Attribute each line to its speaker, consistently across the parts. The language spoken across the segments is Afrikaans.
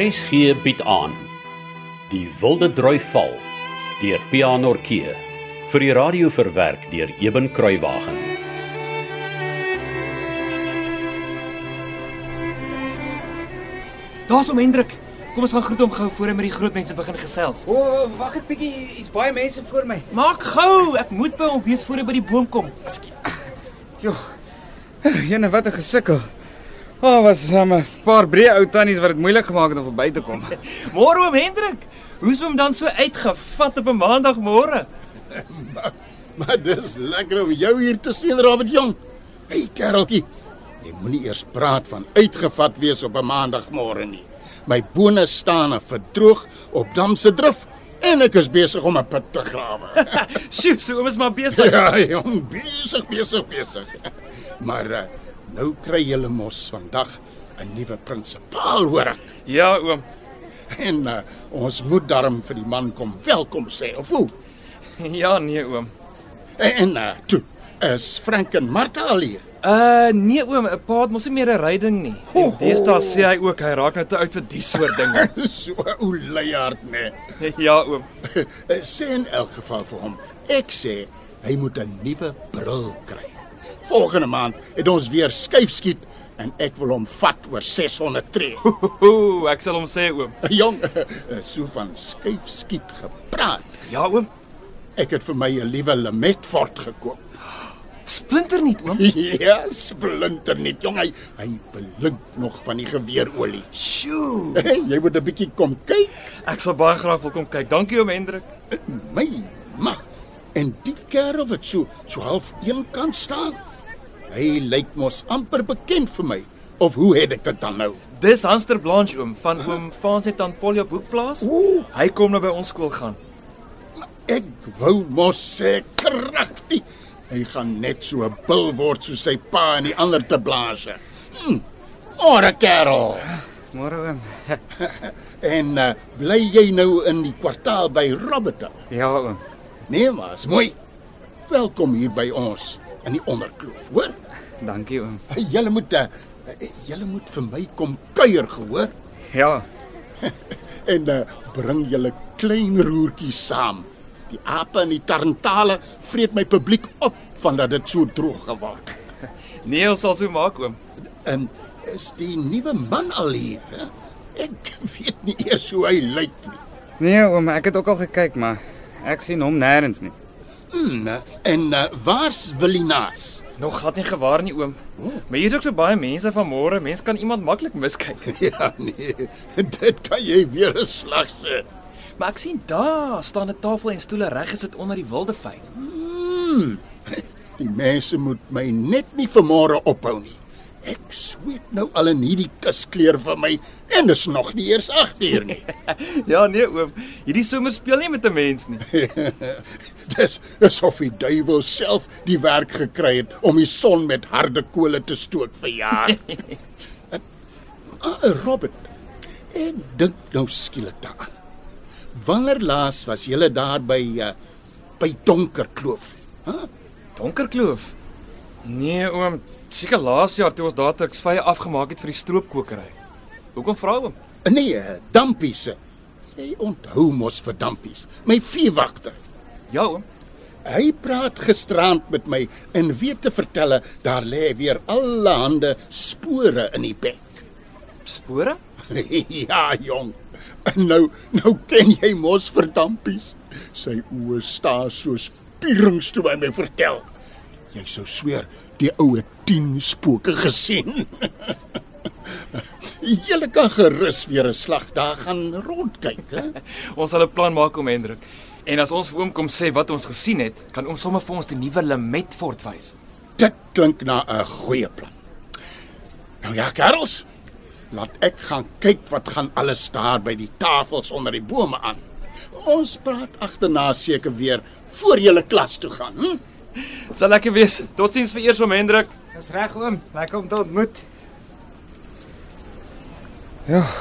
Speaker 1: RSG bied aan Die Wilde Droi Val deur Pianorkee vir die radio verwerk deur Eben Kruiwagen.
Speaker 2: Daar's om Hendrik. Kom ons gaan groet hom gou voor hy met die groot mense begin gesels.
Speaker 3: O, oh, wag net bietjie, hier's baie mense voor my.
Speaker 2: Maak gou, ek moet by hom wees voor hy by die boom kom. Askie.
Speaker 3: Jo. Jene, wat 'n gesukkel. O, oh, was 'n um, paar breë ou tannies wat dit moeilik gemaak het om verby te kom.
Speaker 2: Môre oom Hendrik. Hoe's hom dan so uitgevat op 'n maandagmôre?
Speaker 4: Maar dis lekker om jou hier te sien, Robert Jong. Hey kereltjie, jy moenie eers praat van uitgevat wees op 'n maandagmôre nie. My bone staan en verdroog op Dam se drif en ek is besig om 'n put te grawe.
Speaker 2: Sjoe, so oom is maar besig.
Speaker 4: ja, jong, besig, besig, besig. Maar uh, nou kry julle mos vandag 'n nuwe prinsipaal hoor ek.
Speaker 2: Ja, oom.
Speaker 4: En uh, ons moet darm vir die man kom welkom sê of hoe?
Speaker 2: Ja, nee, oom.
Speaker 4: En uh, toe is Frank en Martha al hier.
Speaker 2: Uh nee oom, 'n pa het mos nie meer 'n ryding nie. En deesdae sê hy ook hy raak nou te oud vir die soort dinge.
Speaker 4: So ou leiaard nê.
Speaker 2: ja, oom.
Speaker 4: Sê in elk geval vir hom, ek sê hy moet 'n nuwe bril kry. Volgende maand het ons weer skuif skiet en ek wil hom vat oor 600 tree.
Speaker 2: Ooh, ek sal hom sê oom.
Speaker 4: Jong, so van skuif skiet gepraat.
Speaker 2: Ja, oom.
Speaker 4: Ek het vir my 'n liewe Lemetfort gekoop.
Speaker 2: Splinter nie, oom.
Speaker 4: Ja, splinter net, jong. Hy hy blink nog van die geweerolie.
Speaker 2: Sjoe.
Speaker 4: Jy moet 'n bietjie kom kyk.
Speaker 2: Ek sal baie graag wil kom kyk. Dankie oom Hendrik.
Speaker 4: My ma. En die kerel wat so so half eenkant staan. Hy lyk mos amper bekend vir my. Of hoe het ek dit dan nou?
Speaker 2: Dis Hanster Blanche oom van oom Frans se tant Polly op Hoekplaas.
Speaker 4: Ooh.
Speaker 2: Hy kom nou by ons skool gaan.
Speaker 4: Ek wou mos sê kragtig. Hy gaan net so 'n bil word soos sy pa en die ander te blaas. Hm. Ora kerel.
Speaker 3: Môre oom.
Speaker 4: En uh, bly jy nou in die kwartaal by Robertel?
Speaker 3: Ja, oom.
Speaker 4: Nee, maar is mooi. Welkom hier by ons in die onderkloof, hoor?
Speaker 3: Dankie oom.
Speaker 4: Julle moet uh, julle moet vir my kom kuier, gehoor?
Speaker 3: Ja.
Speaker 4: En uh, bring julle klein roertjies saam. Die ape en die tarantale vreet my publiek op vandat dit so droog geword.
Speaker 2: Nou, Nee, ons sal so maak oom.
Speaker 4: En is die nuwe man al hier? Hè? Ek weet nie eers hoe hy lyk nie.
Speaker 3: Nee oom, ek het ook al gekyk, maar ek sien hom nêrens nie.
Speaker 4: Hmm, en uh, waar's Willinaas?
Speaker 2: Nog glad nie gewaar nie oom. Maar hier's ook so baie mense vanmôre, mens kan iemand maklik miskyk.
Speaker 4: Ja nee, dit kan jy weer 'n slag sit.
Speaker 2: Maar ek sien daar staan 'n tafel en stoele reg gesit onder die wilde vyn.
Speaker 4: Die mense moet my net nie vanmôre ophou nie. Ek sweet nou al in hierdie kuskleur van my en dis nog nie eers 8 uur nie.
Speaker 2: Ja nee oom, hierdie somer speel nie met 'n mens nie.
Speaker 4: Dis asof die duiwel self die werk gekry het om die son met harde kole te stook vir jaar. Ah, Robert, ek dink nou skielik daaraan. Wanneer laas was jy daar by uh, by Donkerkloof? Huh?
Speaker 2: Donkerkloof. Nee oom, seker laas jaar toe ons daar te Xvye afgemaak het vir die stroopkokery. Hoekom vra oom?
Speaker 4: Nee, eh, Dampies. Jy onthou mos vir Dampies, my veewagter.
Speaker 2: Ja oom.
Speaker 4: Hy praat gisterand met my en weet te vertel daar lê weer allerhande spore in die bek.
Speaker 2: Spore?
Speaker 4: ja, jong. En nou nou ken jy mos vir Dampies. Sy oë staar soos pierings toe hy my vertel. Jy sou sweer die oue 10 spooke gesien. Julle kan gerus weer 'n slag daar gaan rondkyk, hè?
Speaker 2: Ons sal 'n plan maak om Hendrik. En as ons vir oom kom sê wat ons gesien het, kan oom sommer vir ons die nuwe Lemetfort wys.
Speaker 4: Dit klink na 'n goeie plan. Nou ja, kerels, laat ek gaan kyk wat gaan alles daar by die tafels onder die bome aan. Ons praat agterna seker weer voor julle klas toe gaan. Hm?
Speaker 2: Sal lekker wees. Totsiens vir eers oom Hendrik.
Speaker 3: Dis reg oom, lekker om te ontmoet.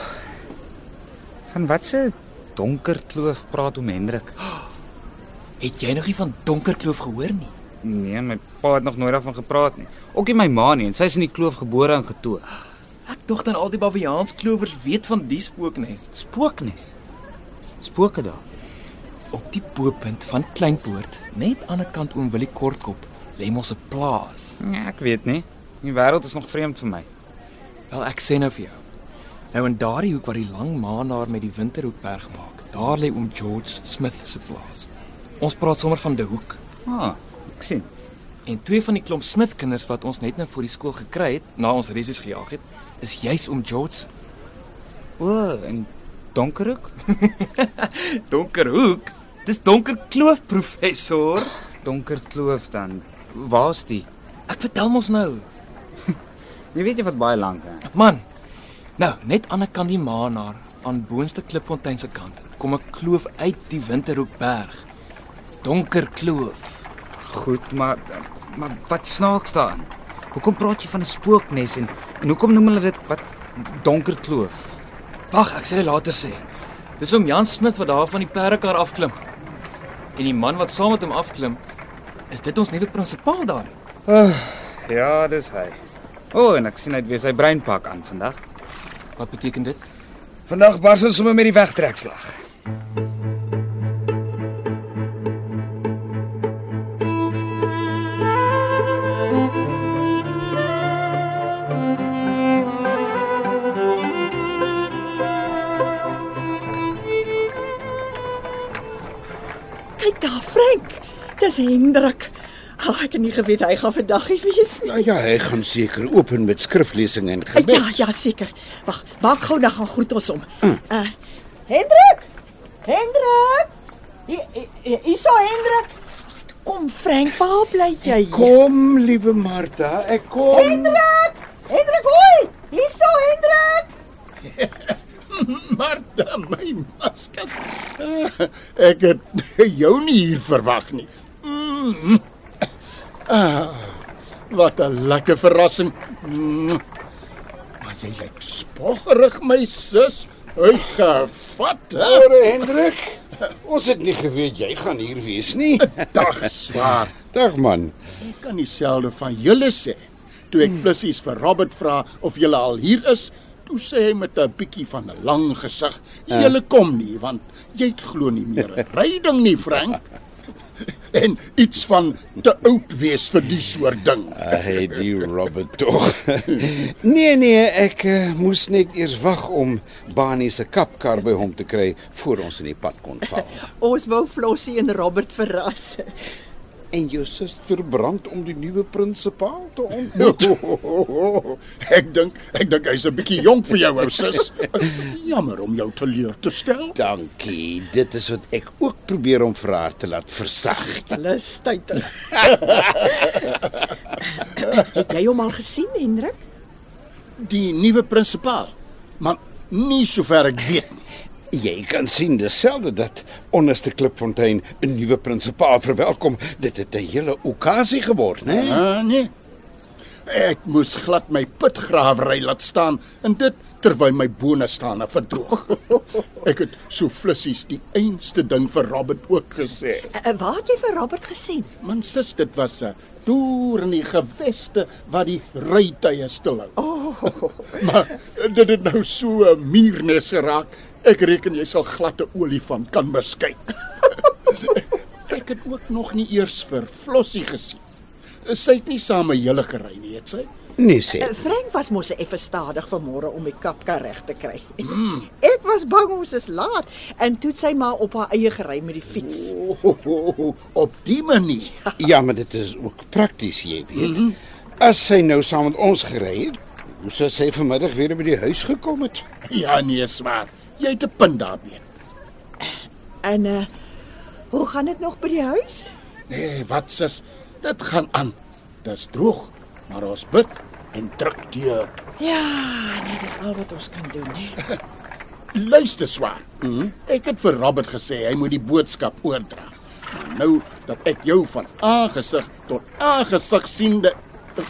Speaker 3: Ja. Van watse donker kloof praat oom Hendrik?
Speaker 2: Het jy nog nie van Donkerkloof gehoor nie?
Speaker 3: Nee, my pa het nog nooit daarvan gepraat nie. Ook nie my ma nie, en sy is in die kloof gebore en getoe.
Speaker 2: Ek dog dan al die baviaansklovers weet van die spooknes
Speaker 5: Spooknes. Spooke daar.
Speaker 2: op die bopunt van Kleinpoort, net aan die kant oom Willie Kortkop, lê mos 'n plaas.
Speaker 3: Nee, ek weet nie. Die wêreld is nog vreemd vir my.
Speaker 2: Wel, ek sê nou vir jou. Nou in daardie hoek waar die lang maanaar met die winterhoekberg maak, daar lê oom George Smith se plaas. Ons praat sommer van die hoek.
Speaker 3: Ah, ek sien.
Speaker 2: En twee van die klomp Smith kinders wat ons net nou voor die skool gekry het, na ons resies gejaag het, is juis oom George se.
Speaker 3: O, en donkerhoek?
Speaker 2: Donkerhoek. Dis donker kloof professor.
Speaker 3: Donker kloof dan. Waar's die?
Speaker 2: Ek vertel mos nou.
Speaker 3: Jy weet jy wat baie lank hè.
Speaker 2: Man. Nou, net aan die kant die maanaar aan boonste Klipfontein se kant kom 'n kloof uit die Winterhoekberg. Donker kloof.
Speaker 3: Goed, maar maar wat snaaks daarin? Hoekom praat jy van 'n spooknes en en hoekom noem hulle dit wat donker kloof?
Speaker 2: Wag, ek sal dit later sê. Dis oom Jan Smit wat daar van die perdekar afklim. En die man wat saam met hom afklim, is dit ons nuwe prinsipaal daar.
Speaker 3: Ja, dis hy. O, oh, en ek sien hy het weer sy breinpak aan vandag.
Speaker 2: Wat beteken dit?
Speaker 3: Vandag bars ons sommer met die wegtrekslag.
Speaker 6: Kyk daar, Frank. Dis Hendrik. Ag, ek het nie geweet hy gaan vandag hier wees nie.
Speaker 4: Ja ja, hy gaan seker open met skriflesing en gebed.
Speaker 6: Ja, ja, seker. Wag, maak gou dan gaan groet ons hom. Uh Hendrik! Hendrik! Hier hier is so Hendrik. Kom Frank, waar bly jy?
Speaker 4: Kom, liewe Martha, ek kom.
Speaker 6: Hendrik! Hendrik, hoi! Hier so Hendrik.
Speaker 4: Martha, my maskas. Ah, Ek het jou nie hier verwag nie. Mm. Ah, wat 'n lekker verrassing. Mm. Maar jy lyk spoggerig, my sus. Uitgevat. Hoor Hendrik,
Speaker 7: Ons het nie geweet jy gaan hier wees nie.
Speaker 4: dag swaar.
Speaker 7: Dag man.
Speaker 4: Ek kan dieselfde van julle sê. Toe ek plussies vir Robert vra of julle al hier is, toe sê hy met 'n bietjie van 'n lang gesig: "Julle kom nie, want jy het glo nie meer 'n ryding nie, Frank." en iets van te oud wees vir die soort ding.
Speaker 7: Hey, die Robert tog. nee nee, ek uh, moes net eers wag om Bani se kapkar by hom te kry voor ons in die pad kon val.
Speaker 6: Ons wou Flossie en Robert verras.
Speaker 7: En jou suster brand om die nuwe prinsipaal te ontmoet.
Speaker 4: ek dink ek dink hy's 'n bietjie jonk vir jou, ou sis. Jammer om jou teleur te stel.
Speaker 7: Ja. Dankie. Dit is wat ek ook probeer om vir haar te laat versag.
Speaker 6: Hulle stuit. eh, het jy hom al gesien, Hendrik?
Speaker 4: Die nuwe prinsipaal. Maar nie sover ek weet nie.
Speaker 7: Jy kan sien dieselfde dat onderste Klipfontein 'n nuwe prinsipaal verwelkom. Dit het 'n hele okasie geword, né? Nee?
Speaker 4: Ah, nee. Ek moes glad my pitgraafry laat staan en dit terwyl my bone staan en verdroog. Ek het so flissies die einste ding vir Robert ook gesê.
Speaker 6: Uh, waar het jy vir Robert gesien?
Speaker 4: Man sis, dit was 'n toer in die geweste wat die rytye stilhou. Oh. maar dit het nou so 'n muurnes geraak. Ek reken jy sal glad 'n olifant kan beskei. ek het ook nog nie eers vir Flossie gesien. Sy het nie saam met julle gery nie, het sy?
Speaker 7: Nee sê.
Speaker 6: Eh, Frank was mos effe stadig vanmôre om die kapkar reg te kry.
Speaker 2: Hmm.
Speaker 6: Ek was bang ons is laat en toe het sy maar op haar eie gery met die fiets.
Speaker 4: O, ho, ho, ho, op die manier.
Speaker 7: Ja, maar dit is ook prakties, jy weet. Mm -hmm. As sy nou saam met ons gery het, hoe sou sy vanmiddag weer by die huis gekom het?
Speaker 4: Ja nee, swaar. Jy het 'n punt daarmee.
Speaker 6: En uh hoe gaan dit nog by die huis?
Speaker 4: Nee, wat sis? Dit gaan aan. Dis droog, maar ons bid en druk deur.
Speaker 6: Ja, nee, dis al wat ons kan doen, hè.
Speaker 4: Luister swaar. Mm -hmm. Ek het vir Robert gesê hy moet die boodskap oordra. Maar nou dat ek jou van aangesig tot aangesig siende eh,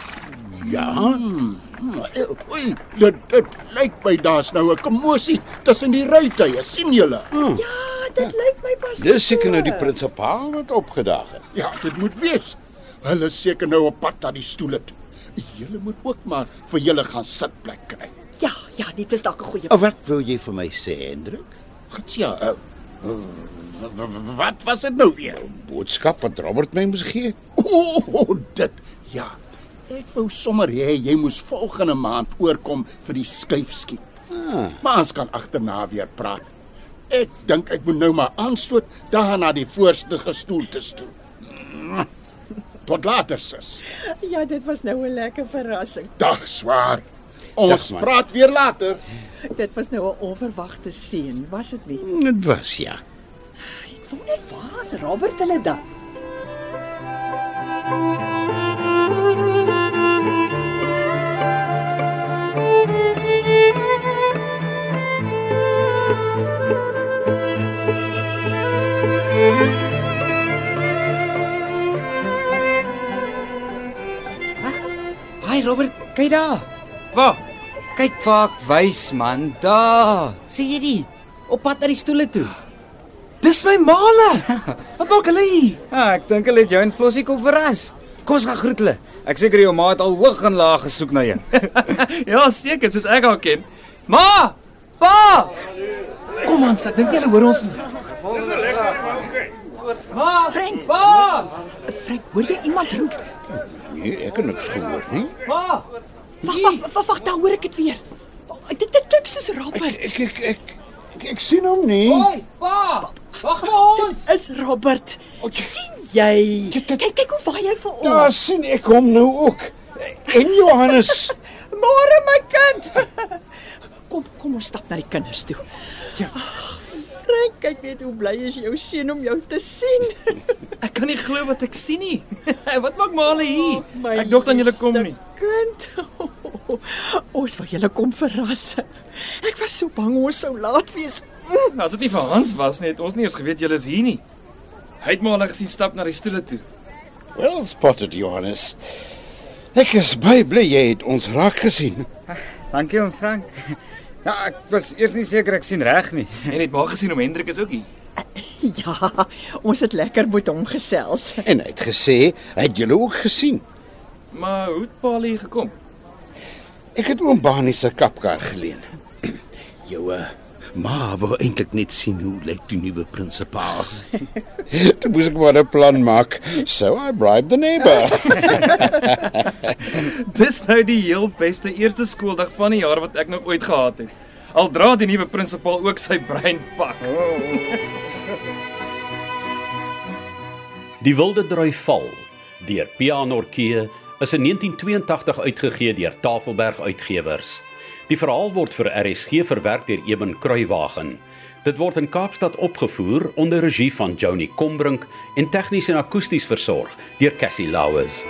Speaker 4: Ja. eh, Oei, dit, dit lyk my daar's nou 'n kommosie tussen die rytye. sien julle?
Speaker 6: Ja, dit lyk my pas.
Speaker 7: Dis seker nou die prinsipaal wat opgedaag het.
Speaker 4: Ja, dit moet wees. Hulle is seker nou op pad na die stoele toe. Julle moet ook maar vir julle gaan sitplek kry.
Speaker 6: Ja, dit is dalk 'n goeie.
Speaker 7: Ah, Wat wil jy vir my sê, Hendrik?
Speaker 4: Gatsia, uh, w- w- wat was dit nou weer?
Speaker 7: Boodskap wat Robert my moes gee?
Speaker 4: O, oh, dit. Ja. Ek wou sommer hê jy moes volgende maand oorkom vir die skuifskiet. Ah. Maar ons kan agterna weer praat. Ek dink ek moet nou maar aanstoot daar na die voorste gestoelte toe. Tot later, sis.
Speaker 6: Ja, dit was nou 'n lekker verrassing.
Speaker 4: Dag swaar. Ons
Speaker 7: Dag, man.
Speaker 4: praat weer later.
Speaker 6: Dit was nou 'n onverwagte seën, was dit nie?
Speaker 7: Dit was ja.
Speaker 6: Ek wonder waar's Robert hulle dan?
Speaker 5: Hi Robert, kyk daar.
Speaker 2: Waar?
Speaker 5: Kyk waar ek wys man, daar. Sien jy dit? Op pad na die stoele toe.
Speaker 2: Dis my maale. Wat maak hulle hier?
Speaker 3: Ah, ek dink hulle het jou en Flossie kom verras.
Speaker 5: Kom ons gaan groet hulle.
Speaker 3: Ek seker jou ma het al hoog en laag gesoek na jou.
Speaker 2: ja, seker, soos ek haar ken. Ma! Pa! Kom aan, ek dink julle hoor ons nie. Ma,
Speaker 6: Frank!
Speaker 2: Pa!
Speaker 6: Frank, hoor jy iemand roep?
Speaker 7: Nee, ek het niks gehoor nie.
Speaker 2: Ma!
Speaker 6: Wag, wag, wag, wag, daar hoor ek dit weer. Oh, Dit dit klink soos Robert.
Speaker 7: Ek ek ek ek, ek sien hom nie.
Speaker 2: pa! Wag vir ons.
Speaker 6: Is Robert. sien jy? Kyk kyk hoe vaai hy vir
Speaker 7: Daar
Speaker 2: Ja.
Speaker 6: ons.
Speaker 7: sien ek hom nou ook. En Johannes.
Speaker 6: Môre my kind. kom kom ons stap na die kinders toe. Ja. Frank, kyk net hoe bly is jou seun om jou te sien.
Speaker 2: Ek kan nie glo wat ek sien nie. wat maak Male hier?
Speaker 6: My
Speaker 2: ek dink dan julle kom
Speaker 6: liefste
Speaker 2: nie.
Speaker 6: Kind. Ons wou julle kom verras. Ek was so bang ons sou laat wees.
Speaker 2: Mm, As dit nie vir Hans was nie, het ons nie eens geweet julle is hier nie. Hy het Male gesien stap na die stoele toe.
Speaker 7: Well spotted, Johannes. Ek is baie bly jy het ons raak gesien.
Speaker 3: Dankie oom Frank. Ja, ek was eers nie seker ek sien reg nie.
Speaker 2: En het maar gesien om Hendrik is ook hier.
Speaker 6: Ja, ons het lekker met hom gesels.
Speaker 7: En hy het gesê hy het julle ook gesien.
Speaker 2: Maar hoe het Paul hier gekom?
Speaker 7: Ek het oom Bani se kapkar geleen. Jou eh, ma wou eintlik net sien hoe lyk die nuwe prinsipaal. Toe moes ek maar 'n plan maak. So I bribed the neighbor.
Speaker 2: Dis nou die heel beste eerste skooldag van die jaar wat ek nog ooit gehad het. Al dra die nuwe prinsipaal ook sy brein pak.
Speaker 1: Die Wilde Droi Val deur Pianorkee is in 1982 uitgegee deur Tafelberg Uitgewers. Die verhaal word vir RSG verwerk deur Eben Kruiwagen. Dit word in Kaapstad opgevoer onder regie van Johnny Combrink en tegnies en akoesties versorg deur Cassie Lauers.